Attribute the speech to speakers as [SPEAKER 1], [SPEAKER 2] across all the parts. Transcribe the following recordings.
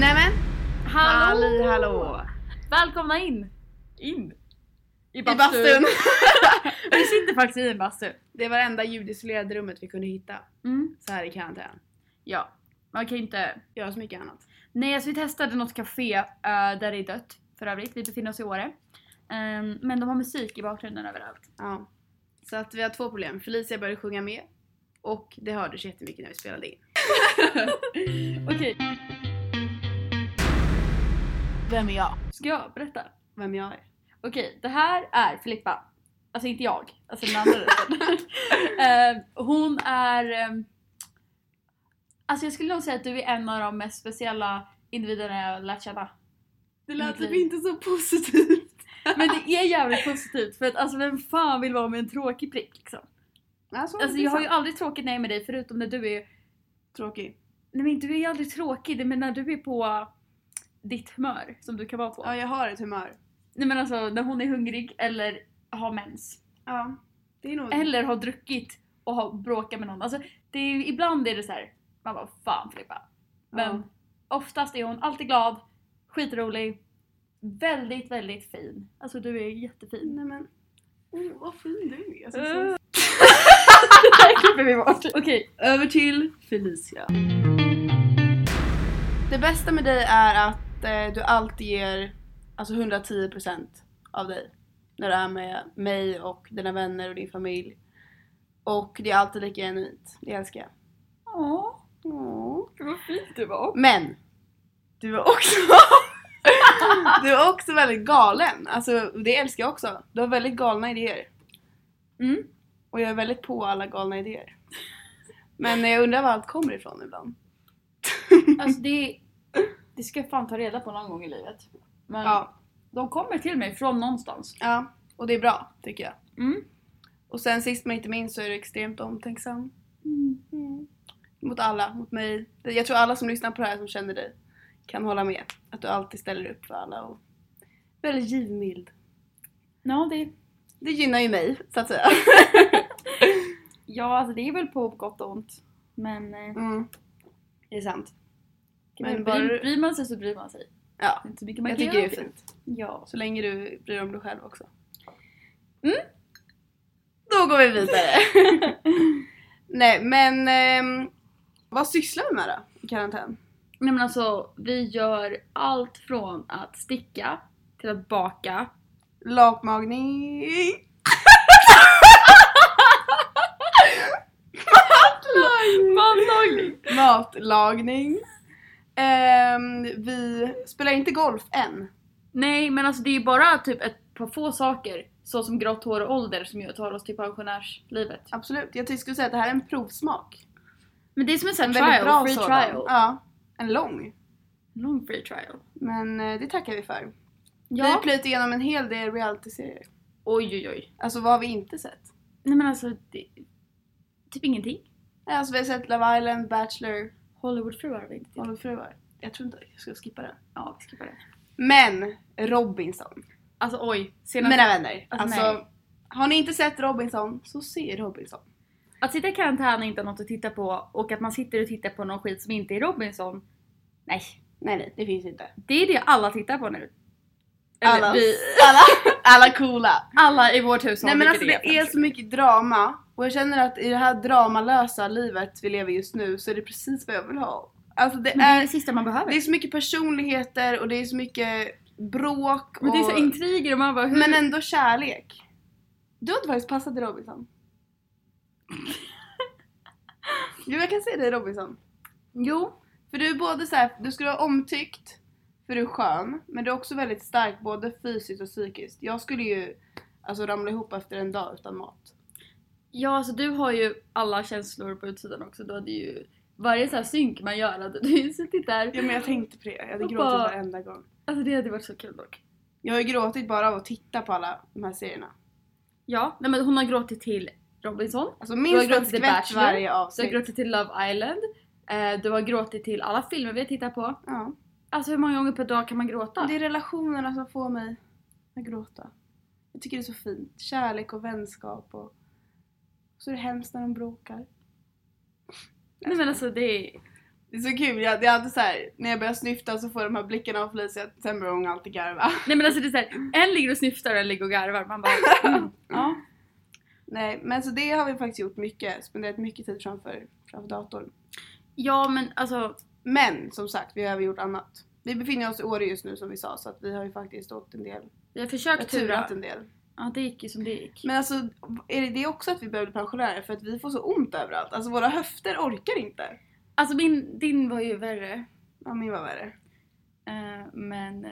[SPEAKER 1] Nämen!
[SPEAKER 2] Halli
[SPEAKER 1] hallå!
[SPEAKER 2] Välkomna in! In? I
[SPEAKER 1] I bastun!
[SPEAKER 2] Vi sitter faktiskt i en bastu.
[SPEAKER 1] det var det enda ljudisolerade rummet vi kunde hitta så här i karantän.
[SPEAKER 2] Mm. Ja, man kan ju inte...
[SPEAKER 1] Göra så mycket annat.
[SPEAKER 2] Nej, alltså vi testade något café eh, där det är dött för övrigt. Vi befinner oss i Åre. Ehm, men de har musik i bakgrunden överallt.
[SPEAKER 1] Ja. Så att vi har två problem. Felicia började sjunga med och det hördes jättemycket när vi spelade in.
[SPEAKER 2] Okej,
[SPEAKER 1] Vem är jag?
[SPEAKER 2] ska jag berätta?
[SPEAKER 1] Vem jag är?
[SPEAKER 2] Okej, det här är Filippa. Alltså inte jag, alltså den andra rösten. Eh, Hon är... ehm, Alltså jag skulle nog säga att du är en av de mest speciella individerna jag har lärt känna.
[SPEAKER 1] Det
[SPEAKER 2] lät
[SPEAKER 1] lät
[SPEAKER 2] typ
[SPEAKER 1] typ inte så positivt.
[SPEAKER 2] Men det är jävligt positivt för att alltså vem fan vill vara med en tråkig prick liksom?
[SPEAKER 1] Alltså,
[SPEAKER 2] Alltså jag har ju aldrig tråkigt när jag är med dig förutom när du är...
[SPEAKER 1] Tråkig.
[SPEAKER 2] Nej men du är ju aldrig tråkig, det men när du är på ditt humör som du kan vara på.
[SPEAKER 1] Ja, jag har ett humör.
[SPEAKER 2] Nej men alltså när hon är hungrig eller har mens.
[SPEAKER 1] Ja. Det är nog...
[SPEAKER 2] Eller har druckit och har bråkat med någon. Alltså det är, ju- ibland är det så här. man bara fan Filippa. Men
[SPEAKER 1] Ja.
[SPEAKER 2] oftast är hon alltid glad, skitrolig, väldigt väldigt fin. Alltså du är jättefin.
[SPEAKER 1] Nej men. Oh, vad fin du är. Alltså, så-
[SPEAKER 2] Uh. det här klipper vi bort. Okej,
[SPEAKER 1] Över till Felicia. Det bästa med dig är att eh, du alltid ger alltså 110% av dig. När du är med mig och dina vänner och din familj. Och det är alltid lika genuint. Det älskar jag.
[SPEAKER 2] Åh, vad fint du var.
[SPEAKER 1] Men! Du är också... du är också väldigt galen. Alltså det älskar jag också. Du har väldigt galna idéer.
[SPEAKER 2] Mm.
[SPEAKER 1] Och jag är väldigt på alla galna idéer. Men jag undrar var allt kommer ifrån ibland.
[SPEAKER 2] Alltså det, det ska jag fan ta reda på någon gång i livet. Men
[SPEAKER 1] Ja.
[SPEAKER 2] de kommer till mig från någonstans.
[SPEAKER 1] Ja, och det är bra tycker jag.
[SPEAKER 2] Mm.
[SPEAKER 1] Och sen sist men inte minst så är du extremt omtänksam.
[SPEAKER 2] Mm.
[SPEAKER 1] Mot alla, mot mig. Jag tror alla som lyssnar på det här som känner dig kan hålla med. Att du alltid ställer upp för alla och väldigt givmild.
[SPEAKER 2] Ja, det,
[SPEAKER 1] Det gynnar ju mig så att säga.
[SPEAKER 2] ja, alltså det är väl på gott och ont. Men, eh,
[SPEAKER 1] Mm. Det är sant.
[SPEAKER 2] men
[SPEAKER 1] Men
[SPEAKER 2] bryr,
[SPEAKER 1] bara-
[SPEAKER 2] bryr man sig så bryr man sig.
[SPEAKER 1] Ja,
[SPEAKER 2] Det är inte så mycket man
[SPEAKER 1] jag
[SPEAKER 2] kan
[SPEAKER 1] tycker det är
[SPEAKER 2] göra åt
[SPEAKER 1] fint.
[SPEAKER 2] Ja.
[SPEAKER 1] Så länge du bryr dig om dig själv också.
[SPEAKER 2] Mm.
[SPEAKER 1] Då går vi vidare. Nej men ehm, vad sysslar vi med då i karantän?
[SPEAKER 2] Nej men alltså, vi gör allt från att sticka till att baka.
[SPEAKER 1] Lakmagning!
[SPEAKER 2] Matlagning!
[SPEAKER 1] matlagning. Ehm, vi spelar inte golf än.
[SPEAKER 2] Nej men alltså det är ju bara typ ett par få saker, så som grått hår och ålder som ju tar oss till pensionärslivet.
[SPEAKER 1] Absolut. Jag tyckte du skulle säga att det här är en provsmak.
[SPEAKER 2] Men det är som en sån
[SPEAKER 1] En
[SPEAKER 2] här
[SPEAKER 1] väldigt bra
[SPEAKER 2] trial, free
[SPEAKER 1] sådan.
[SPEAKER 2] trial.
[SPEAKER 1] Ja, en lång.
[SPEAKER 2] Lång free trial.
[SPEAKER 1] Men eh, det tackar vi för. Vi har
[SPEAKER 2] Ja.
[SPEAKER 1] plöjt igenom en hel del realityserier.
[SPEAKER 2] Oj oj oj.
[SPEAKER 1] Alltså vad har vi inte sett?
[SPEAKER 2] Nej men alltså, det, typ ingenting.
[SPEAKER 1] Nej, Alltså vi har sett Love Island, Bachelor,
[SPEAKER 2] Hollywoodfruar har vi inte tittat på.
[SPEAKER 1] Hollywoodfruar. Jag tror inte jag ska skippa den.
[SPEAKER 2] Ja, vi skippar det.
[SPEAKER 1] Men Robinson.
[SPEAKER 2] Alltså oj. Senast,
[SPEAKER 1] Mina vänner.
[SPEAKER 2] Alltså,
[SPEAKER 1] Alltså, har ni inte sett Robinson så se Robinson.
[SPEAKER 2] att sitta i karantän och inte ha något att titta på och att man sitter och tittar på någon skit som inte är Robinson. Nej.
[SPEAKER 1] Nej nej, det finns inte.
[SPEAKER 2] Det är det alla tittar på nu. Eller
[SPEAKER 1] Alla,
[SPEAKER 2] vi,
[SPEAKER 1] alla, alla coola.
[SPEAKER 2] alla i vårt hushåll.
[SPEAKER 1] Nej men
[SPEAKER 2] vilket
[SPEAKER 1] alltså det är
[SPEAKER 2] kanske.
[SPEAKER 1] så mycket drama och jag känner att i det här dramalösa livet vi lever just nu så är det precis vad jag vill ha. Alltså det
[SPEAKER 2] Men det är det
[SPEAKER 1] är,
[SPEAKER 2] sista man behöver.
[SPEAKER 1] det är så mycket personligheter och det är så mycket bråk
[SPEAKER 2] men det är
[SPEAKER 1] och,
[SPEAKER 2] så intriger och man bara hur...
[SPEAKER 1] men ändå kärlek. Du har inte faktiskt passat i Robinson. jo jag kan se dig i Robinson.
[SPEAKER 2] Jo.
[SPEAKER 1] För du är både så här, du skulle vara omtyckt för du är skön men du är också väldigt stark både fysiskt och psykiskt. Jag skulle ju alltså ramla ihop efter en dag utan mat.
[SPEAKER 2] Ja alltså du har ju alla känslor på utsidan också. Du hade ju varje så här synk man gör hade du ju suttit där.
[SPEAKER 1] Ja men jag tänkte på det, jag hade
[SPEAKER 2] Och
[SPEAKER 1] gråtit
[SPEAKER 2] bara-
[SPEAKER 1] varenda gång.
[SPEAKER 2] Alltså det hade varit så kul dock.
[SPEAKER 1] Jag har ju gråtit bara av att titta på alla de här serierna.
[SPEAKER 2] Ja, nej men hon har gråtit till Robinson.
[SPEAKER 1] Alltså
[SPEAKER 2] Du har
[SPEAKER 1] minst en
[SPEAKER 2] gråtit till
[SPEAKER 1] skvätt
[SPEAKER 2] Bachelor.
[SPEAKER 1] varje
[SPEAKER 2] Du har
[SPEAKER 1] avsnitt.
[SPEAKER 2] gråtit till Love Island. Eh, du har gråtit till alla filmer vi har tittat på.
[SPEAKER 1] Ja.
[SPEAKER 2] Alltså hur många gånger per dag kan man gråta?
[SPEAKER 1] Det är relationerna som får mig Jag gråta. Jag tycker det är så fint. Kärlek och vänskap och... Så är det hemskt när de bråkar.
[SPEAKER 2] Nej men alltså det är...
[SPEAKER 1] Det är så kul, jag, det är alltid så här, när jag börjar snyfta så får jag de här blickarna av Felicia, sen börjar hon alltid garva.
[SPEAKER 2] Nej men alltså det är så här, en ligger och snyftar och en ligger och garvar. Man bara... Mm, ja.
[SPEAKER 1] Nej, men så det har vi faktiskt gjort mycket, spenderat mycket tid framför, framför datorn.
[SPEAKER 2] ja men alltså,
[SPEAKER 1] Men som sagt, vi har även gjort annat. Vi befinner oss i Åre just nu som vi sa, så att vi har ju faktiskt åkt en del.
[SPEAKER 2] vi har
[SPEAKER 1] Jag har
[SPEAKER 2] försökt tura.
[SPEAKER 1] turat en del.
[SPEAKER 2] Ja det gick ju som det gick.
[SPEAKER 1] Men alltså, är det det också att vi börjar bli pensionärer? För att vi får så ont överallt. Alltså våra höfter orkar inte.
[SPEAKER 2] Alltså min, din var ju värre.
[SPEAKER 1] Ja, min var värre.
[SPEAKER 2] Eh, men eh,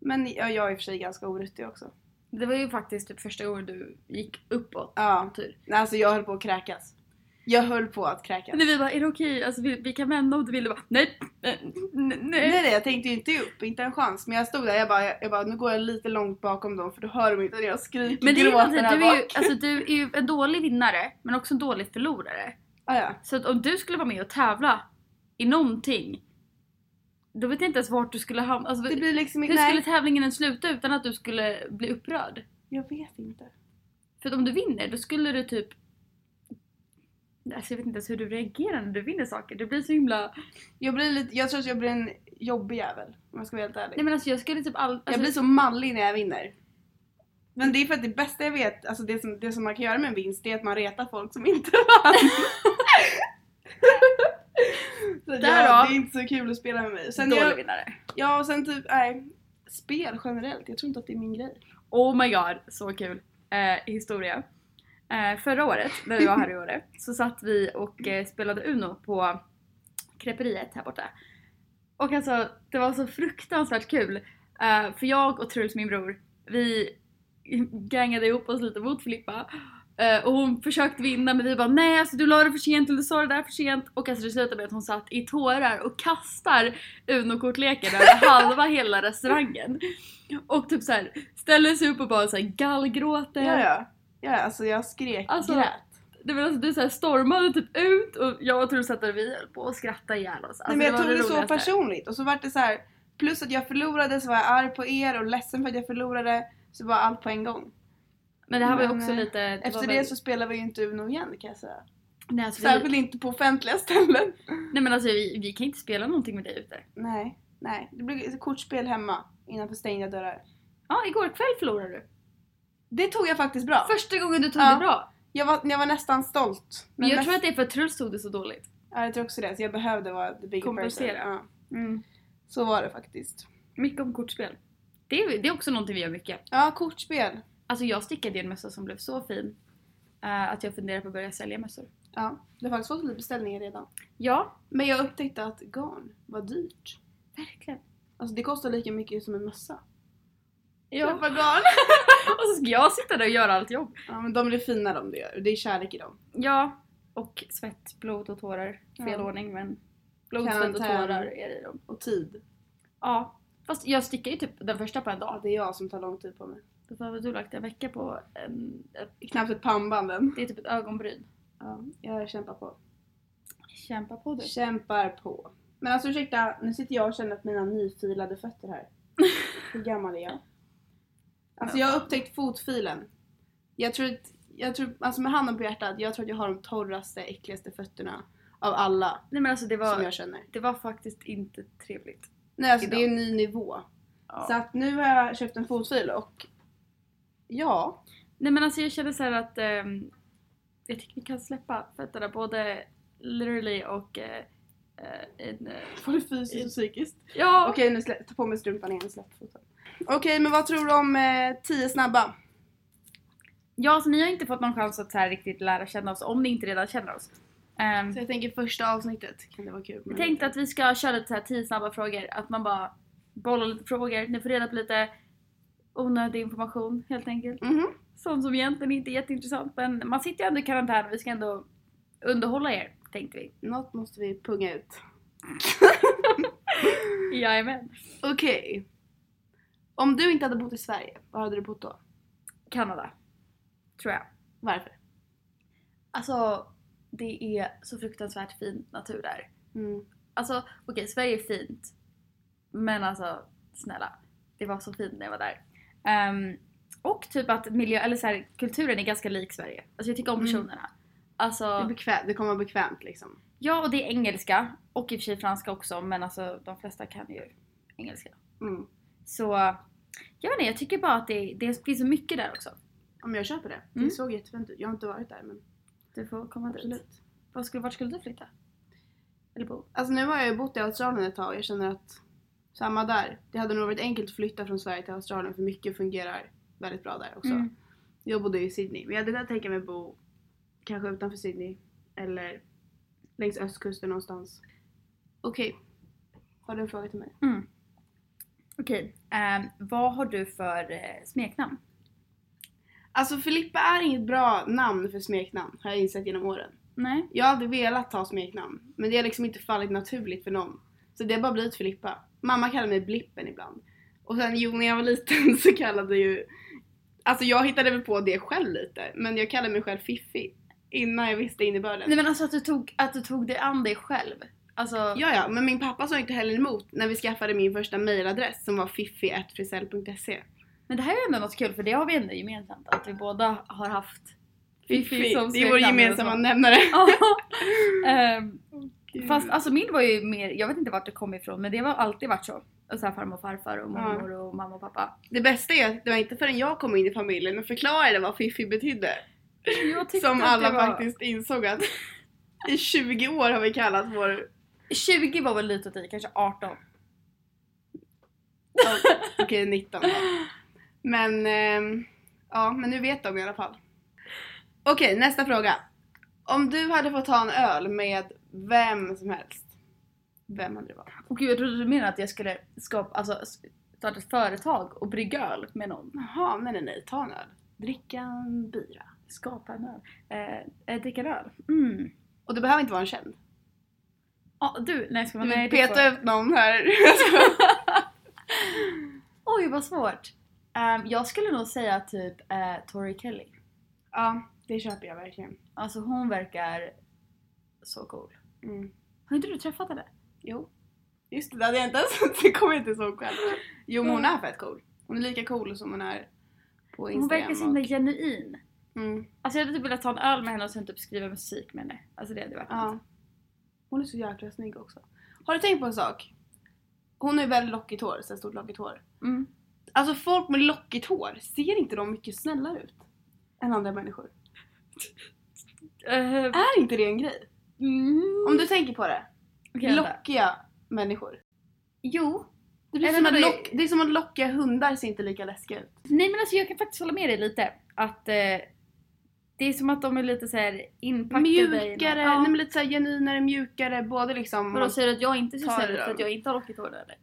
[SPEAKER 1] Men ja, jag är i och för sig ganska oruttig också.
[SPEAKER 2] det var ju faktiskt typ första året du gick uppåt.
[SPEAKER 1] Ja.
[SPEAKER 2] Tur.
[SPEAKER 1] Nej, Alltså jag höll på att kräkas. Jag höll på att kräkas.
[SPEAKER 2] När vi bara, är det okej? Alltså vi, vi kan vända om du vill. Du bara, nej, nej, nej.
[SPEAKER 1] Nej nej jag tänkte ju inte upp, inte en chans. Men jag stod där jag bara, jag, bara nu går jag lite långt bakom dem för då hör de inte när jag skriker
[SPEAKER 2] Men det är ju
[SPEAKER 1] gråter
[SPEAKER 2] någonting,
[SPEAKER 1] här
[SPEAKER 2] du är ju,
[SPEAKER 1] bak.
[SPEAKER 2] alltså, du är ju en dålig vinnare men också en dålig förlorare.
[SPEAKER 1] Ah, ja.
[SPEAKER 2] Så att om du skulle vara med och tävla i någonting då vet jag inte ens vart du skulle hamna. Alltså,
[SPEAKER 1] Det blir liksom
[SPEAKER 2] hur
[SPEAKER 1] inte, nej.
[SPEAKER 2] skulle tävlingen ens sluta utan att du skulle bli upprörd?
[SPEAKER 1] Jag vet inte.
[SPEAKER 2] För att om du vinner då skulle du typ Alltså jag vet inte ens hur du reagerar när du vinner saker. Du blir så himla...
[SPEAKER 1] Jag blir lite, jag tror att jag blir en jobbig jävel om jag ska vara helt ärlig.
[SPEAKER 2] Nej men alltså jag skulle typ all... alltså,
[SPEAKER 1] Jag blir så mallig när jag vinner. Men det är för att det bästa jag vet, alltså det som, det som man kan göra med en vinst, det är att man retar folk som inte vann. så jag, det
[SPEAKER 2] Därav-
[SPEAKER 1] är inte så kul att spela med mig. Sen
[SPEAKER 2] dålig
[SPEAKER 1] jag,
[SPEAKER 2] vinnare.
[SPEAKER 1] ja, och sen typ, nej. Spel generellt, jag tror inte att det är min grej.
[SPEAKER 2] Oh my god, så kul eh, historia. Eh, förra året, när vi var här i Åre, så satt vi och eh, spelade Uno på Kreperiet här borta. Och alltså, det var så fruktansvärt kul. Eh, för jag och Truls, min bror, vi gangade ihop oss lite mot Filippa. Eh, och hon försökte vinna men vi bara nej alltså du la det för sent eller du sa det där för sent. Och alltså det slutade med att hon satt i tårar och kastar Uno-kortleken över halva hela restaurangen. Och typ såhär ställer sig upp och bara såhär gallgråter.
[SPEAKER 1] Ja, ja. ja alltså jag skrek,
[SPEAKER 2] Alltså-
[SPEAKER 1] grät.
[SPEAKER 2] Det var alltså, du såhär stormade typ ut och jag och Truls satt där och vi höll på att skratta ihjäl oss. Alltså,
[SPEAKER 1] nej, men jag
[SPEAKER 2] var
[SPEAKER 1] tog det, så
[SPEAKER 2] roligaste.
[SPEAKER 1] personligt. Och så vart det så här. plus att jag förlorade så var jag arg på er och ledsen för att jag förlorade. Så var allt på en gång.
[SPEAKER 2] Men det här var ju
[SPEAKER 1] Men,
[SPEAKER 2] också
[SPEAKER 1] eh,
[SPEAKER 2] lite... det var
[SPEAKER 1] Efter
[SPEAKER 2] väl-
[SPEAKER 1] det så spelar vi ju inte Uno igen kan jag säga.
[SPEAKER 2] Nej, alltså, vi,
[SPEAKER 1] Särskilt inte på offentliga ställen.
[SPEAKER 2] nej men alltså vi, vi kan inte spela någonting med dig ute.
[SPEAKER 1] Nej, nej. Det blir kortspel hemma innanför stängda dörrar.
[SPEAKER 2] Ja, igår kväll förlorade du.
[SPEAKER 1] Det tog jag faktiskt bra.
[SPEAKER 2] Första gången du tog
[SPEAKER 1] Ja.
[SPEAKER 2] det bra.
[SPEAKER 1] Jag var, jag var nästan stolt.
[SPEAKER 2] Men jag
[SPEAKER 1] näst-
[SPEAKER 2] tror att det är för att Truls tog det så dåligt.
[SPEAKER 1] Ja, jag tror också det. Så jag behövde vara the bigger
[SPEAKER 2] Kompensera.
[SPEAKER 1] person. Ja, så var det faktiskt.
[SPEAKER 2] Mycket om kortspel. Det är, det är också någonting vi gör mycket.
[SPEAKER 1] Ja, kortspel.
[SPEAKER 2] Alltså jag stickade ju en mössa som blev så fin eh, att jag funderar på att börja sälja mössor.
[SPEAKER 1] Ja, det har faktiskt fått lite beställningar redan.
[SPEAKER 2] Ja,
[SPEAKER 1] Men jag upptäckte att garn var dyrt.
[SPEAKER 2] verkligen.
[SPEAKER 1] Alltså det kostar lika mycket som en mössa.
[SPEAKER 2] Ja.
[SPEAKER 1] Köpa garn!
[SPEAKER 2] Och så ska jag sitta där och göra allt jobb.
[SPEAKER 1] Ja men de blir fina de det gör. Det är kärlek i dem.
[SPEAKER 2] Ja, och svett, blod och tårar. Fel
[SPEAKER 1] Ja.
[SPEAKER 2] ordning men blod, svett och
[SPEAKER 1] Karantän.
[SPEAKER 2] tårar är det i dem.
[SPEAKER 1] Och tid.
[SPEAKER 2] Ja, fast jag stickar ju typ den första på en
[SPEAKER 1] Ja
[SPEAKER 2] dag.
[SPEAKER 1] det är jag som tar lång tid på mig.
[SPEAKER 2] Då har väl du lagt en vecka på en, ett,
[SPEAKER 1] Knappt ett pannband än.
[SPEAKER 2] det är typ ett ögonbryn.
[SPEAKER 1] Ja, jag kämpar på.
[SPEAKER 2] Kämpa på du.
[SPEAKER 1] Kämpar på. Men alltså ursäkta, nu sitter jag och känner att mina nyfilade fötter här. Hur gammal är jag? Alltså jag har upptäckt fotfilen. Jag tror att, jag tror, alltså med handen på hjärtat, jag tror att jag har de torraste, äckligaste fötterna av alla
[SPEAKER 2] Nej men alltså det
[SPEAKER 1] som
[SPEAKER 2] var,
[SPEAKER 1] jag känner.
[SPEAKER 2] det var faktiskt inte trevligt.
[SPEAKER 1] Nej alltså det är
[SPEAKER 2] Idag.
[SPEAKER 1] en ny nivå.
[SPEAKER 2] Ja.
[SPEAKER 1] Så att nu har jag köpt en fotfil och ja,
[SPEAKER 2] Nej men alltså jag känner så här att ehm, jag tycker vi kan släppa fötterna både literally och eh, eh, en, eh,
[SPEAKER 1] både fysiskt och psykiskt.
[SPEAKER 2] ja,
[SPEAKER 1] Okej nu slä, ta på mig strumpan igen, släpp foten. Okej men vad tror du om eh, 10 snabba?
[SPEAKER 2] ja alltså ni har inte fått någon chans att så här riktigt lära känna oss om ni inte redan känner oss. Ehm,
[SPEAKER 1] Så jag tänker första avsnittet kan det vara kul
[SPEAKER 2] jag
[SPEAKER 1] med
[SPEAKER 2] tänkte att vi ska köra lite så här tio snabba frågor, att man bara bollar lite frågor, ni får reda på lite onödig information helt enkelt.
[SPEAKER 1] Mhm.
[SPEAKER 2] Sånt som egentligen inte är jätteintressant men man sitter ju ändå i karantän och vi ska ändå underhålla er tänkte vi.
[SPEAKER 1] Något måste vi punga ut.
[SPEAKER 2] Jajamän.
[SPEAKER 1] Okej. Om du inte hade bott i Sverige, var hade du bott då?
[SPEAKER 2] Kanada. Tror jag.
[SPEAKER 1] Varför?
[SPEAKER 2] Alltså, det är så fruktansvärt fin natur där.
[SPEAKER 1] Mm.
[SPEAKER 2] Alltså, okej, Sverige är fint. Men alltså, snälla. Det var så fint när jag var där. Ehm, och typ att miljö, eller så här, kulturen är ganska lik Sverige. Alltså jag tycker om
[SPEAKER 1] Mm.
[SPEAKER 2] personerna.
[SPEAKER 1] Det, är
[SPEAKER 2] Alltså,
[SPEAKER 1] bekvämt, det kommer vara bekvämt liksom.
[SPEAKER 2] ja och det är engelska och i och för sig franska också men alltså de flesta kan ju engelska.
[SPEAKER 1] Mm.
[SPEAKER 2] Så jag vet inte, jag tycker bara att det, det finns så mycket där också.
[SPEAKER 1] Om jag köper det.
[SPEAKER 2] Mm.
[SPEAKER 1] Det såg jättefint ut. Jag har inte varit där men
[SPEAKER 2] Du får komma dit.
[SPEAKER 1] absolut.
[SPEAKER 2] Var skulle, vart skulle du flytta? Eller bo?
[SPEAKER 1] Alltså nu har jag ju bott i Australien ett tag jag känner att samma där. Det hade nog varit enkelt att flytta från Sverige till Australien för mycket fungerar väldigt bra där också.
[SPEAKER 2] Mm.
[SPEAKER 1] Jag bodde ju i Sydney men jag hade kunnat tänka mig bo kanske utanför Sydney eller längs östkusten någonstans. Okej. Har du en fråga till mig?
[SPEAKER 2] Okej, ehm, vad har du för eh, smeknamn?
[SPEAKER 1] Alltså Filippa är inget bra namn för smeknamn har jag insett genom åren.
[SPEAKER 2] Nej?
[SPEAKER 1] Jag har aldrig velat ta smeknamn men det har liksom inte fallit naturligt för någon. Så det har bara blivit Filippa. Mamma kallar mig Blippen ibland. Och sen jo, när jag var liten så kallade ju... Alltså jag hittade väl på det själv lite men jag kallade mig själv Fiffi innan jag visste innebörden.
[SPEAKER 2] Nej men alltså att du tog, att du tog dig an dig själv. Alltså,
[SPEAKER 1] Ja, ja, men min pappa sa inte heller emot när vi skaffade min första mailadress som var fiffi.frisell.se.
[SPEAKER 2] men det här är ändå något kul för det har vi ändå gemensamt. Att vi båda har haft
[SPEAKER 1] Fiffi,
[SPEAKER 2] som
[SPEAKER 1] det är vår
[SPEAKER 2] smeknamn
[SPEAKER 1] gemensamma
[SPEAKER 2] och
[SPEAKER 1] nämnare.
[SPEAKER 2] så. Ja. Ehm, Fast alltså min var ju mer, jag vet inte vart det kom ifrån men det har alltid varit så. Och så här, farmor och farfar och mormor och mamma och pappa.
[SPEAKER 1] det bästa är att det var inte förrän jag kom in i familjen och förklarade vad Fiffi betydde
[SPEAKER 2] Jag tyckte
[SPEAKER 1] som
[SPEAKER 2] att det
[SPEAKER 1] alla
[SPEAKER 2] var-
[SPEAKER 1] faktiskt insåg att i 20 år har vi kallat vår...
[SPEAKER 2] 20 var väl lite att i, kanske 18.
[SPEAKER 1] Okej, 19 då. Men, ehm, ja, men nu vet de i alla fall. Okej, nästa fråga. Om du hade fått ta en öl med vem som helst, vem hade det varit?
[SPEAKER 2] Och gud jag trodde du menade att jag skulle skapa, alltså s- starta ett företag och brygga öl med någon.
[SPEAKER 1] Jaha, nej nej nej, ta en öl. Dricka en bira.
[SPEAKER 2] Skapa en öl. Eh, eh, dricka en öl. Mm.
[SPEAKER 1] Och det behöver inte vara en känd.
[SPEAKER 2] Ja du, nej ska man
[SPEAKER 1] du
[SPEAKER 2] nej,
[SPEAKER 1] vill
[SPEAKER 2] det
[SPEAKER 1] peta
[SPEAKER 2] får-
[SPEAKER 1] ut någon här.
[SPEAKER 2] Oj vad svårt. Ehm, jag skulle nog säga typ eh, Tori Kelly.
[SPEAKER 1] ja, det köper jag verkligen.
[SPEAKER 2] Alltså hon verkar så cool.
[SPEAKER 1] Mm.
[SPEAKER 2] Har inte du träffat henne?
[SPEAKER 1] Jo. Just det, det hade jag inte ens... Det kommer jag inte ihåg själv. Jo men hon är fett cool. Hon är lika cool som hon är på
[SPEAKER 2] Mm. Hon
[SPEAKER 1] Instagram.
[SPEAKER 2] verkar så himla
[SPEAKER 1] och-
[SPEAKER 2] genuin.
[SPEAKER 1] mm,
[SPEAKER 2] Alltså jag hade typ velat ta en öl med henne och sen typ skriva musik med henne. Alltså det hade varit
[SPEAKER 1] ja.
[SPEAKER 2] något.
[SPEAKER 1] Hon är så jäkla snygg också. Har du tänkt på en sak? Hon har ju väldigt lockigt hår, så här stort lockigt hår.
[SPEAKER 2] Mm.
[SPEAKER 1] Alltså folk med lockigt hår, ser inte de mycket snällare ut? Än andra människor.
[SPEAKER 2] Eh,
[SPEAKER 1] Är inte det en grej?
[SPEAKER 2] mm.
[SPEAKER 1] Om du tänker på det.
[SPEAKER 2] Okej, vänta.
[SPEAKER 1] lockiga människor.
[SPEAKER 2] Jo.
[SPEAKER 1] Det, blir
[SPEAKER 2] Eller
[SPEAKER 1] som att
[SPEAKER 2] vadå?
[SPEAKER 1] lock, det är som att lockiga hundar ser inte lika läskiga ut.
[SPEAKER 2] Nej men alltså jag kan faktiskt hålla med dig lite. Att eh, det är som att de är lite såhär inpackade i något.
[SPEAKER 1] Mjukare,
[SPEAKER 2] Ja.
[SPEAKER 1] nej men lite såhär genuinare, mjukare, både liksom...
[SPEAKER 2] Vadå säger du att jag inte ser
[SPEAKER 1] Tar
[SPEAKER 2] snäll ut
[SPEAKER 1] dem.
[SPEAKER 2] för att jag inte har lockigt hår eller?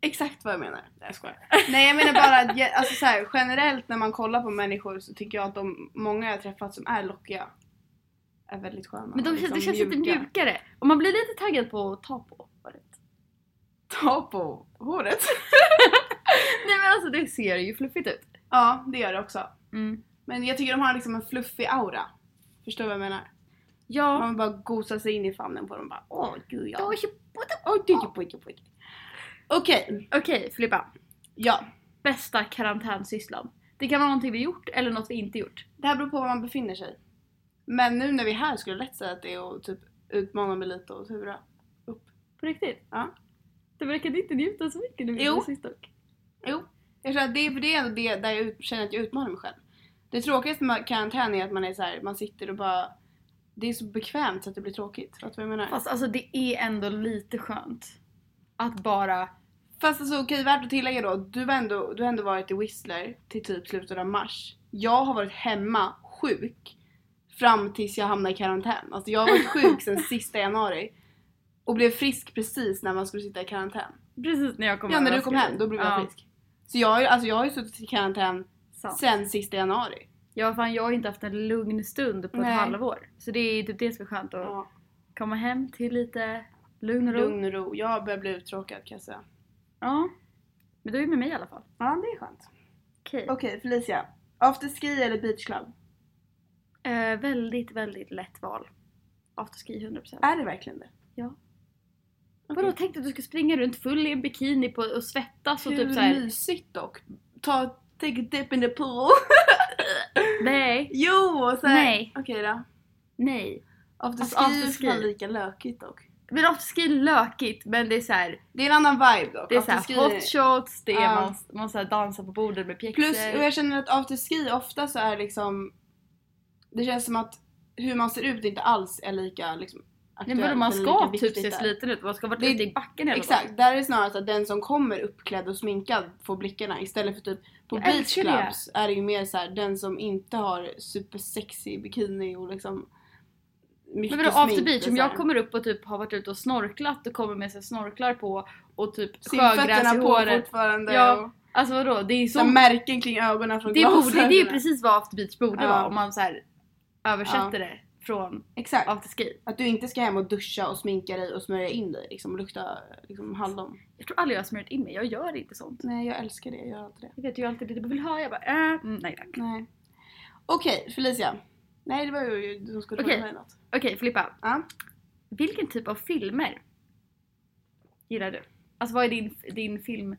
[SPEAKER 1] Exakt vad jag menar. Nej jag skojar. Nej jag menar bara att ge- alltså, så här, generellt när man kollar på människor så tycker jag att de många jag har träffat som är lockiga är väldigt sköna.
[SPEAKER 2] Men de
[SPEAKER 1] och
[SPEAKER 2] känns, det
[SPEAKER 1] liksom
[SPEAKER 2] känns lite mjukare. Och man blir lite taggad på att ta på håret.
[SPEAKER 1] Ta på håret.
[SPEAKER 2] Nej men alltså det ser ju fluffigt ut.
[SPEAKER 1] ja det gör det också.
[SPEAKER 2] Mm.
[SPEAKER 1] Men jag tycker de har liksom en fluffig aura. Förstår du vad jag menar?
[SPEAKER 2] Ja.
[SPEAKER 1] Man bara gosar sig in i famnen på dem och bara åh gud ja.
[SPEAKER 2] Då-
[SPEAKER 1] Oj, oj, oj, oj, oj. Okej,
[SPEAKER 2] Okej Filippa,
[SPEAKER 1] ja.
[SPEAKER 2] bästa karantänsysslan. Det kan vara någonting vi gjort eller något vi inte gjort.
[SPEAKER 1] Det här beror på var man befinner sig. Men nu när vi är här skulle jag lätt säga att det är att typ utmana mig lite och tura.
[SPEAKER 2] På riktigt?
[SPEAKER 1] Ja.
[SPEAKER 2] Du verkade inte njuta så mycket när vi
[SPEAKER 1] Jo.
[SPEAKER 2] gjorde sist dock.
[SPEAKER 1] Jag känner att det, för det är ändå det där jag ut, känner att jag utmanar mig själv. Det tråkigaste med karantän är att man är så här, man sitter och bara... Det är så bekvämt så att det blir tråkigt. Fattar du vad jag menar? Fast,
[SPEAKER 2] Fast alltså det är ändå lite skönt. Att bara...
[SPEAKER 1] alltså okej, värt att tillägga då. Du har, ändå, du har ändå varit i Whistler till typ slutet av mars. Jag har varit hemma sjuk fram tills jag hamnade i karantän. Alltså jag har varit sjuk sedan sista januari. Och blev frisk precis när man skulle sitta i karantän.
[SPEAKER 2] Precis när jag kom
[SPEAKER 1] Ja,
[SPEAKER 2] hem.
[SPEAKER 1] när du kom hem då blev jag
[SPEAKER 2] Ja,
[SPEAKER 1] frisk. Så jag, har ju- alltså jag har ju suttit i karantän
[SPEAKER 2] sant.
[SPEAKER 1] sen sista januari.
[SPEAKER 2] Ja fan jag har inte haft en lugn stund på
[SPEAKER 1] Nej.
[SPEAKER 2] ett halvår. Så det är ju typ det som är skönt att
[SPEAKER 1] Ja.
[SPEAKER 2] komma hem till lite lugn och ro.
[SPEAKER 1] Lugn och ro. Jag börjar bli uttråkad kan jag säga.
[SPEAKER 2] Ja. Men du är med mig i alla fall.
[SPEAKER 1] Ja, det är skönt.
[SPEAKER 2] Okej.
[SPEAKER 1] Okej, Felicia. Afterski eller beachclub?
[SPEAKER 2] Eh, väldigt, väldigt lätt val. Afterski 100%.
[SPEAKER 1] Är det verkligen det?
[SPEAKER 2] Ja.
[SPEAKER 1] Okej.
[SPEAKER 2] Vadå tänkte att du ska springa runt full i en bikini på, och typ svettas och
[SPEAKER 1] Hur
[SPEAKER 2] typ såhär.
[SPEAKER 1] mysigt dock. Ta Take a dip in the pool.
[SPEAKER 2] Nej.
[SPEAKER 1] jo! och Så här.
[SPEAKER 2] Nej.
[SPEAKER 1] Okej då.
[SPEAKER 2] Nej.
[SPEAKER 1] Afterski
[SPEAKER 2] Alltså,
[SPEAKER 1] är
[SPEAKER 2] afterski.
[SPEAKER 1] fan lika lökigt dock.
[SPEAKER 2] Men afterski är lökigt men det är så här,
[SPEAKER 1] Det är en annan vibe dock.
[SPEAKER 2] det är så
[SPEAKER 1] Afterski
[SPEAKER 2] här hot shots, det är
[SPEAKER 1] Ja.
[SPEAKER 2] man, man så här dansar på bordet med pjäxor.
[SPEAKER 1] Plus, och jag känner att afterski ofta så är liksom... Det känns som att hur man ser ut inte alls är lika liksom,
[SPEAKER 2] Nej
[SPEAKER 1] aktuellt.
[SPEAKER 2] men man
[SPEAKER 1] eller
[SPEAKER 2] ska
[SPEAKER 1] lika
[SPEAKER 2] typ
[SPEAKER 1] viktigt
[SPEAKER 2] se
[SPEAKER 1] där.
[SPEAKER 2] sliten ut, man ska vara
[SPEAKER 1] Det-
[SPEAKER 2] ute i backen hela dagen.
[SPEAKER 1] Exakt, där är det snarare så att den som kommer uppklädd och sminkad får blickarna istället för typ på
[SPEAKER 2] Jag
[SPEAKER 1] beach
[SPEAKER 2] älskar det.
[SPEAKER 1] clubs är det ju mer så här den som inte har supersexy bikini och liksom mycket
[SPEAKER 2] Men vadå
[SPEAKER 1] smink,
[SPEAKER 2] after beach?
[SPEAKER 1] så
[SPEAKER 2] Om
[SPEAKER 1] här.
[SPEAKER 2] jag kommer upp och typ har varit ute och snorklat och kommer med sig snorklar på och typ sjögräs i
[SPEAKER 1] Simfötterna på
[SPEAKER 2] håret.
[SPEAKER 1] fortfarande
[SPEAKER 2] Ja,
[SPEAKER 1] och
[SPEAKER 2] Alltså vadå, det är
[SPEAKER 1] så här
[SPEAKER 2] så...
[SPEAKER 1] märken kring ögonen från
[SPEAKER 2] Det, borde, det är ju
[SPEAKER 1] glasögonen.
[SPEAKER 2] precis vad after beach borde
[SPEAKER 1] Ja.
[SPEAKER 2] vara om man så här översätter det från
[SPEAKER 1] Exakt,
[SPEAKER 2] afterski.
[SPEAKER 1] att du inte ska hem och duscha och sminka dig och smörja in dig liksom och lukta liksom, hallon.
[SPEAKER 2] Jag tror aldrig jag har smörjt in mig, jag gör inte sånt.
[SPEAKER 1] Nej jag älskar det, jag gör alltid det.
[SPEAKER 2] Jag vet ju alltid det du vill ha, jag bara äh, mm, nej tack.
[SPEAKER 1] eh, Nej. Okej Felicia. Nej det var ju du som skulle
[SPEAKER 2] Okej.
[SPEAKER 1] fråga mig något.
[SPEAKER 2] Okej Filippa.
[SPEAKER 1] Ja.
[SPEAKER 2] Vilken typ av filmer gillar du? Alltså vad är din, din film,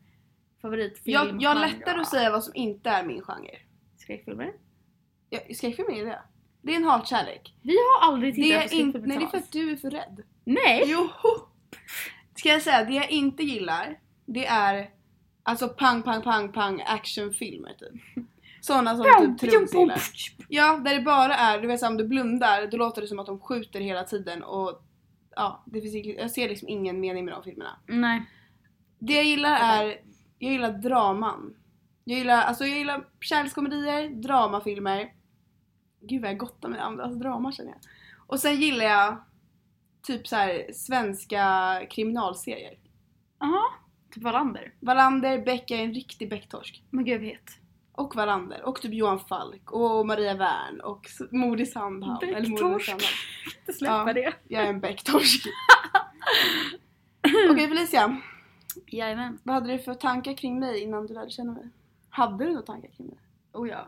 [SPEAKER 2] favoritfilm?
[SPEAKER 1] Jag, jag har
[SPEAKER 2] genre?
[SPEAKER 1] lättare att säga vad som inte är min genre.
[SPEAKER 2] Skräckfilmer?
[SPEAKER 1] Jag, skräckfilm är det. Det är en hatkärlek.
[SPEAKER 2] Vi har aldrig
[SPEAKER 1] Det
[SPEAKER 2] tittat
[SPEAKER 1] är
[SPEAKER 2] på
[SPEAKER 1] inte,
[SPEAKER 2] skräckfilmer
[SPEAKER 1] nej, det är för
[SPEAKER 2] tillsammans.
[SPEAKER 1] att du är för rädd.
[SPEAKER 2] Nej!
[SPEAKER 1] Joho! Ska jag säga, det jag inte gillar, det är alltså pang, pang, pang, pang actionfilmer typ. Såna som
[SPEAKER 2] Pjong,
[SPEAKER 1] typ Truls
[SPEAKER 2] pjong,
[SPEAKER 1] gillar. Ja, där det bara är, du vet så här, om du blundar då låter det som att de skjuter hela tiden och ja, det finns, ing- jag ser liksom ingen mening med de filmerna.
[SPEAKER 2] Nej.
[SPEAKER 1] Det jag gillar är, jag gillar draman. Jag gillar, alltså jag gillar kärlekskomedier, dramafilmer. Gud vad jag gottar mig alltså drama känner jag. Och sen gillar jag typ så här svenska kriminalserier.
[SPEAKER 2] Jaha. Typ Wallander.
[SPEAKER 1] Wallander, Beck är en riktig Becktorsk.
[SPEAKER 2] Men gud jag vet.
[SPEAKER 1] Och Wallander, och typ Johan Falk, och Maria Wern, och S- Modi Sandhamn. eller Modi
[SPEAKER 2] Becktorsk.
[SPEAKER 1] Sandhamn.
[SPEAKER 2] Inte släppa
[SPEAKER 1] Ja.
[SPEAKER 2] det.
[SPEAKER 1] Jag är en Becktorsk. Okej Felicia,
[SPEAKER 2] Jajamän.
[SPEAKER 1] vad hade du för tankar kring mig innan du lärde känna mig? Hade du några tankar kring mig?
[SPEAKER 2] Oh ja.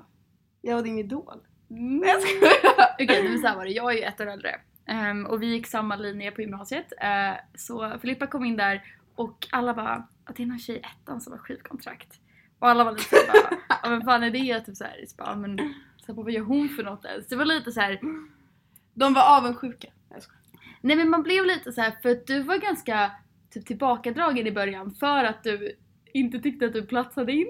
[SPEAKER 1] Jag var din idol.
[SPEAKER 2] Mm.
[SPEAKER 1] Jag skojar!
[SPEAKER 2] Okej, nej, men så här var det. Jag är ju ett år äldre. Ehm, och vi gick samma linje på gymnasiet. Eh, så Filippa kom in där och alla bara att det är någon tjej i ettan som har skivkontrakt. Och alla var lite såhär bara, ja men fan är det typ såhär, så bara, "Ja, men så här, vad gör hon för något ens? Det var lite så här.
[SPEAKER 1] De var avundsjuka. Jag skojar.
[SPEAKER 2] nej men man blev lite så här för att du var ganska typ tillbakadragen i början för att du inte tyckte att du platsade in.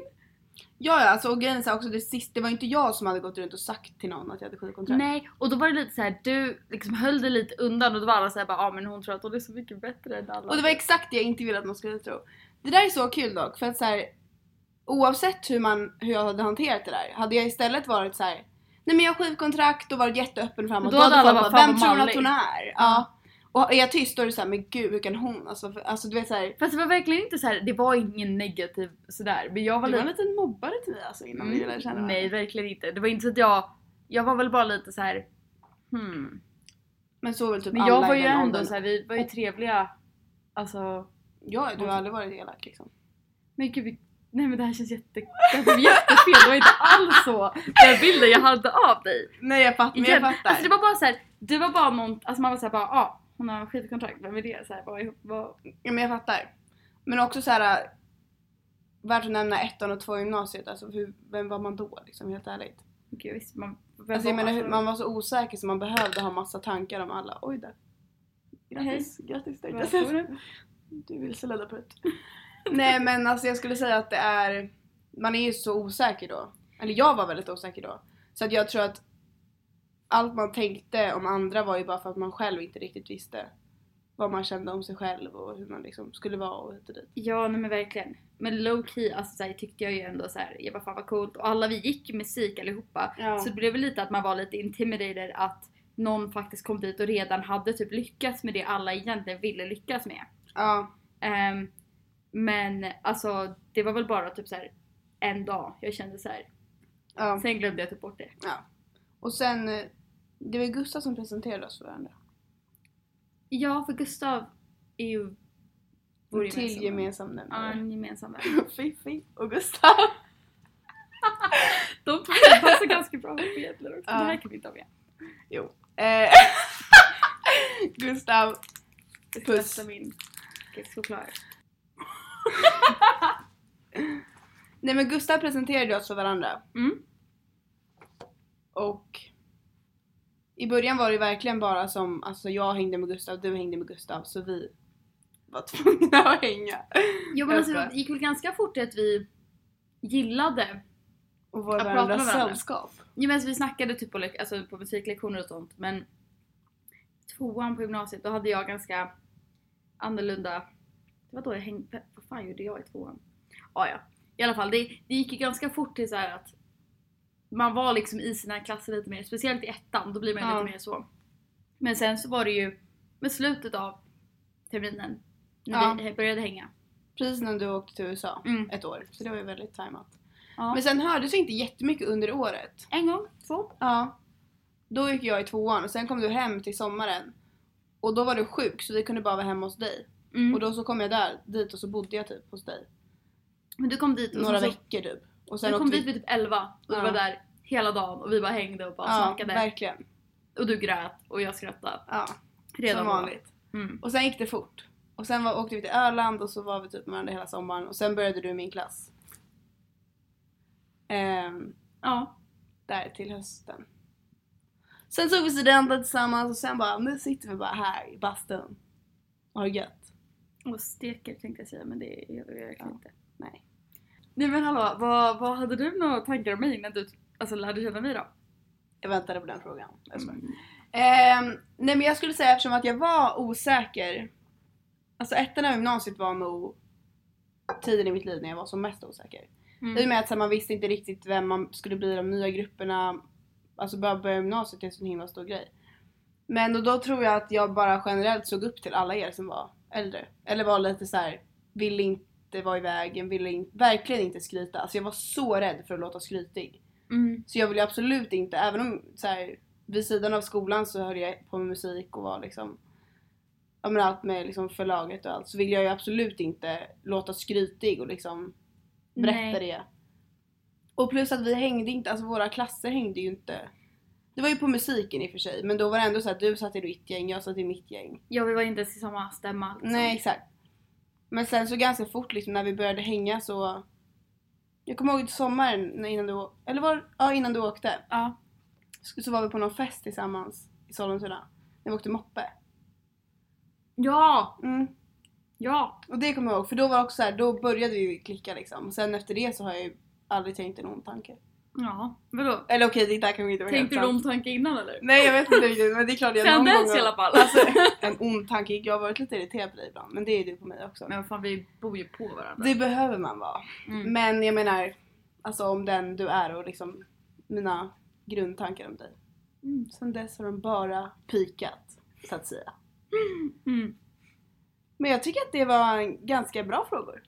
[SPEAKER 1] Ja, ja, alltså, och grejen är så här också det sista, det var inte jag som hade gått runt och sagt till någon att jag hade skivkontrakt.
[SPEAKER 2] Nej, och då var det lite så här, du liksom höll dig lite undan och då var alla såhär bara, ja ah, men hon tror att hon är så mycket bättre än alla.
[SPEAKER 1] Och det var exakt det jag inte ville att någon skulle tro. Det där är så kul dock, för att så här, oavsett hur, man, hur jag hade hanterat det där, hade jag istället varit så här. nej men jag har skivkontrakt och varit jätteöppen framåt,
[SPEAKER 2] Då hade alla
[SPEAKER 1] folk
[SPEAKER 2] bara, "Fan,
[SPEAKER 1] vem
[SPEAKER 2] vad
[SPEAKER 1] tror hon att
[SPEAKER 2] mallig."
[SPEAKER 1] hon är? Ja. Och är jag tyst då är det såhär, men gud hur kan hon? Alltså, för, alltså du vet såhär,
[SPEAKER 2] Fast det var verkligen inte så här, det var ingen negativ sådär. Men jag var
[SPEAKER 1] du var en
[SPEAKER 2] lite... Mm,
[SPEAKER 1] liten mobbare till mig alltså innan vi lärde känna varandra.
[SPEAKER 2] nej, verkligen inte. Det var inte så att jag... Jag var väl bara lite så här. Hmm.
[SPEAKER 1] Men så var väl typ
[SPEAKER 2] Men
[SPEAKER 1] alla
[SPEAKER 2] jag
[SPEAKER 1] i
[SPEAKER 2] var ju
[SPEAKER 1] den
[SPEAKER 2] ändå
[SPEAKER 1] åldern.
[SPEAKER 2] så här, vi var ju trevliga. Alltså...
[SPEAKER 1] Ja, du har aldrig varit elak liksom.
[SPEAKER 2] Men gud, vi- nej men det här känns jätte... Det här blev jättefel. Det var inte alls så den bilden jag hade av dig.
[SPEAKER 1] Nej jag fattar, men jag
[SPEAKER 2] Igen.
[SPEAKER 1] fattar.
[SPEAKER 2] Alltså det var bara så här, du var bara någon... Alltså man var såhär bara, ja, ah, hon har skivkontrakt. Vem är det? Så här, vad, vad...
[SPEAKER 1] ja, men jag fattar. Men också så här. äh, Värt att nämna ettan och två gymnasiet, alltså hur, vem var man då liksom helt ärligt?
[SPEAKER 2] Gud, visst, man... vem
[SPEAKER 1] Alltså jag
[SPEAKER 2] var-
[SPEAKER 1] menar hur- man var så osäker så man behövde ha massa tankar om alla. Oj där. Grattis, grattis tänkte jag säga.
[SPEAKER 2] Varför?
[SPEAKER 1] Du vilseledde på ett. Nej men alltså jag skulle säga att det är, man är ju så osäker då. Eller jag var väldigt osäker då. Så att jag tror att allt man tänkte om andra var ju bara för att man själv inte riktigt visste vad man kände om sig själv och hur man liksom skulle vara och hit och dit.
[SPEAKER 2] Ja nej men verkligen. Men low key alltså, så här, tyckte jag ju ändå så här, jag bara fan vad coolt och alla vi gick ju musik allihopa.
[SPEAKER 1] Ja.
[SPEAKER 2] Så det blev väl lite att man var lite intimidated att någon faktiskt kom dit och redan hade typ lyckats med det alla egentligen ville lyckas med.
[SPEAKER 1] Ja,
[SPEAKER 2] Ehm, men alltså det var väl bara typ så här en dag jag kände så här.
[SPEAKER 1] ja,
[SPEAKER 2] Sen glömde jag typ bort det.
[SPEAKER 1] ja. Och sen, eh, det var ju Gustav som presenterade oss för varandra.
[SPEAKER 2] Ja för Gustav är ju vår
[SPEAKER 1] Till gemensam
[SPEAKER 2] Ja,
[SPEAKER 1] nämnare.
[SPEAKER 2] en gemensam vän.
[SPEAKER 1] Fiffi och Gustav.
[SPEAKER 2] De två passar ganska bra ihop egentligen också.
[SPEAKER 1] Ja.
[SPEAKER 2] Det här kan vi inte ha med.
[SPEAKER 1] Eh, Gustav.
[SPEAKER 2] Jag ska
[SPEAKER 1] Puss.
[SPEAKER 2] testa min kexchoklad.
[SPEAKER 1] Nej men Gustav presenterade oss för varandra.
[SPEAKER 2] Mm.
[SPEAKER 1] Och i början var det verkligen bara som, alltså jag hängde med Gustav, du hängde med Gustav, så vi var tvungna att hänga.
[SPEAKER 2] Jo men
[SPEAKER 1] Jag
[SPEAKER 2] alltså,
[SPEAKER 1] tror
[SPEAKER 2] det
[SPEAKER 1] det.
[SPEAKER 2] gick väl ganska fort att vi gillade
[SPEAKER 1] Och var
[SPEAKER 2] Att prata
[SPEAKER 1] varandras
[SPEAKER 2] med varandra.
[SPEAKER 1] sällskap.
[SPEAKER 2] Jo men alltså, vi snackade typ på, lek- alltså, på musiklektioner och sånt men tvåan på gymnasiet då hade jag ganska annorlunda... Det var då jag hängde... Vad fan gjorde jag i tvåan? Ah, ja, i alla fall det, det gick ju ganska fort till så här att man var liksom i sina klasser lite mer, speciellt i ettan då blir man ju
[SPEAKER 1] Ja.
[SPEAKER 2] lite mer så. Men sen så var det ju med slutet av terminen när
[SPEAKER 1] Ja.
[SPEAKER 2] vi började hänga.
[SPEAKER 1] Precis när du åkte till USA
[SPEAKER 2] Mm.
[SPEAKER 1] ett år, så det var ju väldigt tajmat.
[SPEAKER 2] Ja.
[SPEAKER 1] Men sen hördes vi inte jättemycket under året.
[SPEAKER 2] En gång, två.
[SPEAKER 1] Ja. Då gick jag i tvåan och sen kom du hem till sommaren. Och då var du sjuk så vi kunde bara vara hemma hos dig.
[SPEAKER 2] Mm.
[SPEAKER 1] Och då så kom jag där, dit och så bodde jag typ hos dig.
[SPEAKER 2] men du kom dit och
[SPEAKER 1] Några
[SPEAKER 2] sen så
[SPEAKER 1] veckor typ. Och
[SPEAKER 2] Sen
[SPEAKER 1] sen
[SPEAKER 2] du kom
[SPEAKER 1] åkte vi-
[SPEAKER 2] dit vid typ 11 och
[SPEAKER 1] Ja.
[SPEAKER 2] du var där hela dagen och vi bara hängde och bara
[SPEAKER 1] Ja,
[SPEAKER 2] snackade.
[SPEAKER 1] verkligen.
[SPEAKER 2] Och du grät och jag skrattade.
[SPEAKER 1] Ja,
[SPEAKER 2] Redan
[SPEAKER 1] som
[SPEAKER 2] då.
[SPEAKER 1] vanligt.
[SPEAKER 2] Mm.
[SPEAKER 1] Och sen gick det fort. Och sen var, åkte vi till Öland och så var vi typ med varandra hela sommaren. Och sen började du i min klass. Ehm,
[SPEAKER 2] Ja.
[SPEAKER 1] där till hösten. Sen tog vi studenten tillsammans och sen bara, nu sitter vi bara här i bastun. Och har det gött.
[SPEAKER 2] Och steker tänkte jag säga men det gör vi verkligen
[SPEAKER 1] Ja.
[SPEAKER 2] inte.
[SPEAKER 1] Nej.
[SPEAKER 2] Nej men hallå, vad, vad hade du några tankar om mig innan du alltså, lärde känna mig då?
[SPEAKER 1] Jag väntade på den frågan. Jag
[SPEAKER 2] Mm.
[SPEAKER 1] skojar. Ehm, nej men jag skulle säga eftersom att jag var osäker. Alltså ettan av gymnasiet var nog tiden i mitt liv när jag var som mest osäker. I
[SPEAKER 2] Mm.
[SPEAKER 1] och med att så här, man visste inte riktigt vem man skulle bli i de nya grupperna. Alltså bara börja gymnasiet är en sån himla stor grej. Men och då tror jag att jag bara generellt såg upp till alla er som var äldre. Eller var lite så här, ville inte vara i vägen, ville in, verkligen inte skryta. Alltså jag var så rädd för att låta skrytig.
[SPEAKER 2] Mm.
[SPEAKER 1] Så jag ville absolut inte, även om så här, vid sidan av skolan så höll jag på med musik och var liksom Ja men allt med liksom förlaget och allt så ville jag ju absolut inte låta skrytig och liksom berätta
[SPEAKER 2] Nej.
[SPEAKER 1] det. Och plus att vi hängde inte, alltså våra klasser hängde ju inte. Det var ju på musiken i och för sig men då var det ändå så att du satt i ditt gäng, jag satt i mitt gäng.
[SPEAKER 2] Ja vi var inte ens i samma stämma. liksom.
[SPEAKER 1] Nej exakt. Men sen så ganska fort liksom när vi började hänga så Jag kommer ihåg till sommaren när- innan du, å- eller var, ja, innan du åkte
[SPEAKER 2] Ja.
[SPEAKER 1] så så var vi på någon fest tillsammans i Sollentuna. När vi åkte moppe.
[SPEAKER 2] Ja!
[SPEAKER 1] Mm.
[SPEAKER 2] Ja!
[SPEAKER 1] Och det kommer jag ihåg för då var det också så här, då började vi ju klicka liksom. Och sen efter det så har jag ju aldrig tänkt en ond tanke.
[SPEAKER 2] Ja. Vadå?
[SPEAKER 1] Eller okej det där kanske inte var
[SPEAKER 2] Tänkte du
[SPEAKER 1] helt sant.
[SPEAKER 2] om tanke innan eller?
[SPEAKER 1] Nej jag vet inte riktigt men det är klart jag
[SPEAKER 2] Sen
[SPEAKER 1] någon gång
[SPEAKER 2] dess i alla
[SPEAKER 1] har...
[SPEAKER 2] fall.
[SPEAKER 1] Alltså en ond tanke, jag har varit lite irriterad på dig ibland men det är du på mig också.
[SPEAKER 2] Men vad fan vi bor ju på varandra.
[SPEAKER 1] Det behöver man vara.
[SPEAKER 2] Mm.
[SPEAKER 1] Men jag menar, alltså om den du är och liksom mina grundtankar om dig.
[SPEAKER 2] Mm.
[SPEAKER 1] Sen dess har de bara pikat så att säga.
[SPEAKER 2] Mm.
[SPEAKER 1] Men jag tycker att det var en ganska bra frågor.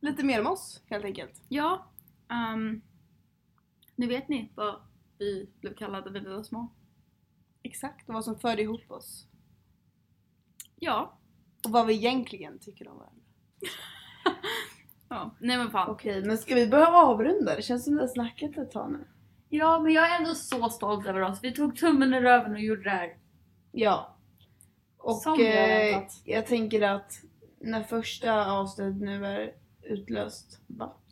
[SPEAKER 1] Lite mer om oss helt enkelt.
[SPEAKER 2] Ja. ehm, nu vet ni vad vi blev kallade när vi var små.
[SPEAKER 1] Exakt. Och vad som förde ihop oss.
[SPEAKER 2] Ja.
[SPEAKER 1] Och vad vi egentligen tycker om varandra.
[SPEAKER 2] ja. Nej men fan.
[SPEAKER 1] Okej, men ska vi börja avrunda? Det känns som vi har snackat ett tag nu.
[SPEAKER 2] Ja men jag är ändå så stolt över oss. Vi tog tummen ur röven och gjorde det här.
[SPEAKER 1] Ja. Och
[SPEAKER 2] Som vi har
[SPEAKER 1] eh,
[SPEAKER 2] väntat.
[SPEAKER 1] jag tänker att när första avsnittet nu är utlöst, va?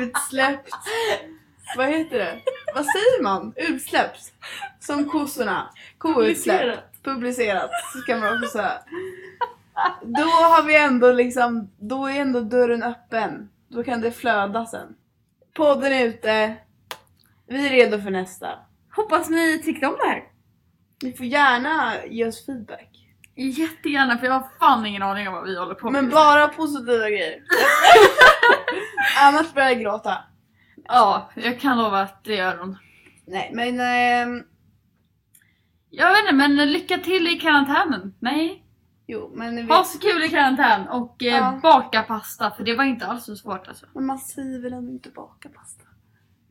[SPEAKER 1] Utsläppt. Vad heter det? Vad säger man? Utsläppt. Som kossorna. Koutsläpp. Publicerat kan man också säga. Då har vi ändå liksom, då är ändå dörren öppen. Då kan det flöda sen. Podden är ute. Vi är redo för nästa.
[SPEAKER 2] Hoppas ni tyckte om det här.
[SPEAKER 1] Ni får gärna ge oss feedback.
[SPEAKER 2] Jättegärna för jag har fan ingen aning om vad vi håller på med.
[SPEAKER 1] Men bara positiva grejer. Annars börjar jag gråta.
[SPEAKER 2] Ja, jag kan lova att det gör hon.
[SPEAKER 1] Nej men ehm,
[SPEAKER 2] Jag vet inte men lycka till i karantänen. Nej.
[SPEAKER 1] jo men ni
[SPEAKER 2] Ha
[SPEAKER 1] vet,
[SPEAKER 2] så kul i karantän och eh,
[SPEAKER 1] Ja.
[SPEAKER 2] baka pasta för det var inte alls så svårt alltså.
[SPEAKER 1] men man säger väl ändå inte baka pasta.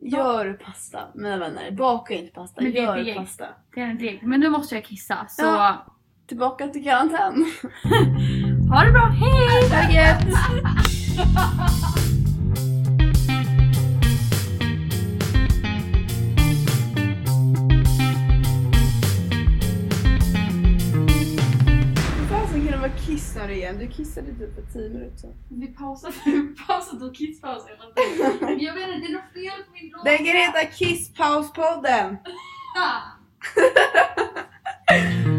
[SPEAKER 1] Gör pasta mina vänner. Baka inte pasta,
[SPEAKER 2] Men det är
[SPEAKER 1] gör
[SPEAKER 2] deg.
[SPEAKER 1] pasta.
[SPEAKER 2] Det är en regel. Men nu måste jag kissa så
[SPEAKER 1] Ja. Tillbaka till karantän.
[SPEAKER 2] ha det bra. Hej!
[SPEAKER 1] Tack! Jens. Hur fasen kan det vara kiss kissnödig igen. Du kissade typ för 10 minuter sedan.
[SPEAKER 2] Vi pausade, vi pausade och kisspausade hela tiden. Men jag menar det är något fel på min låda.
[SPEAKER 1] Den kan heta Kisspauspodden!
[SPEAKER 2] Ah!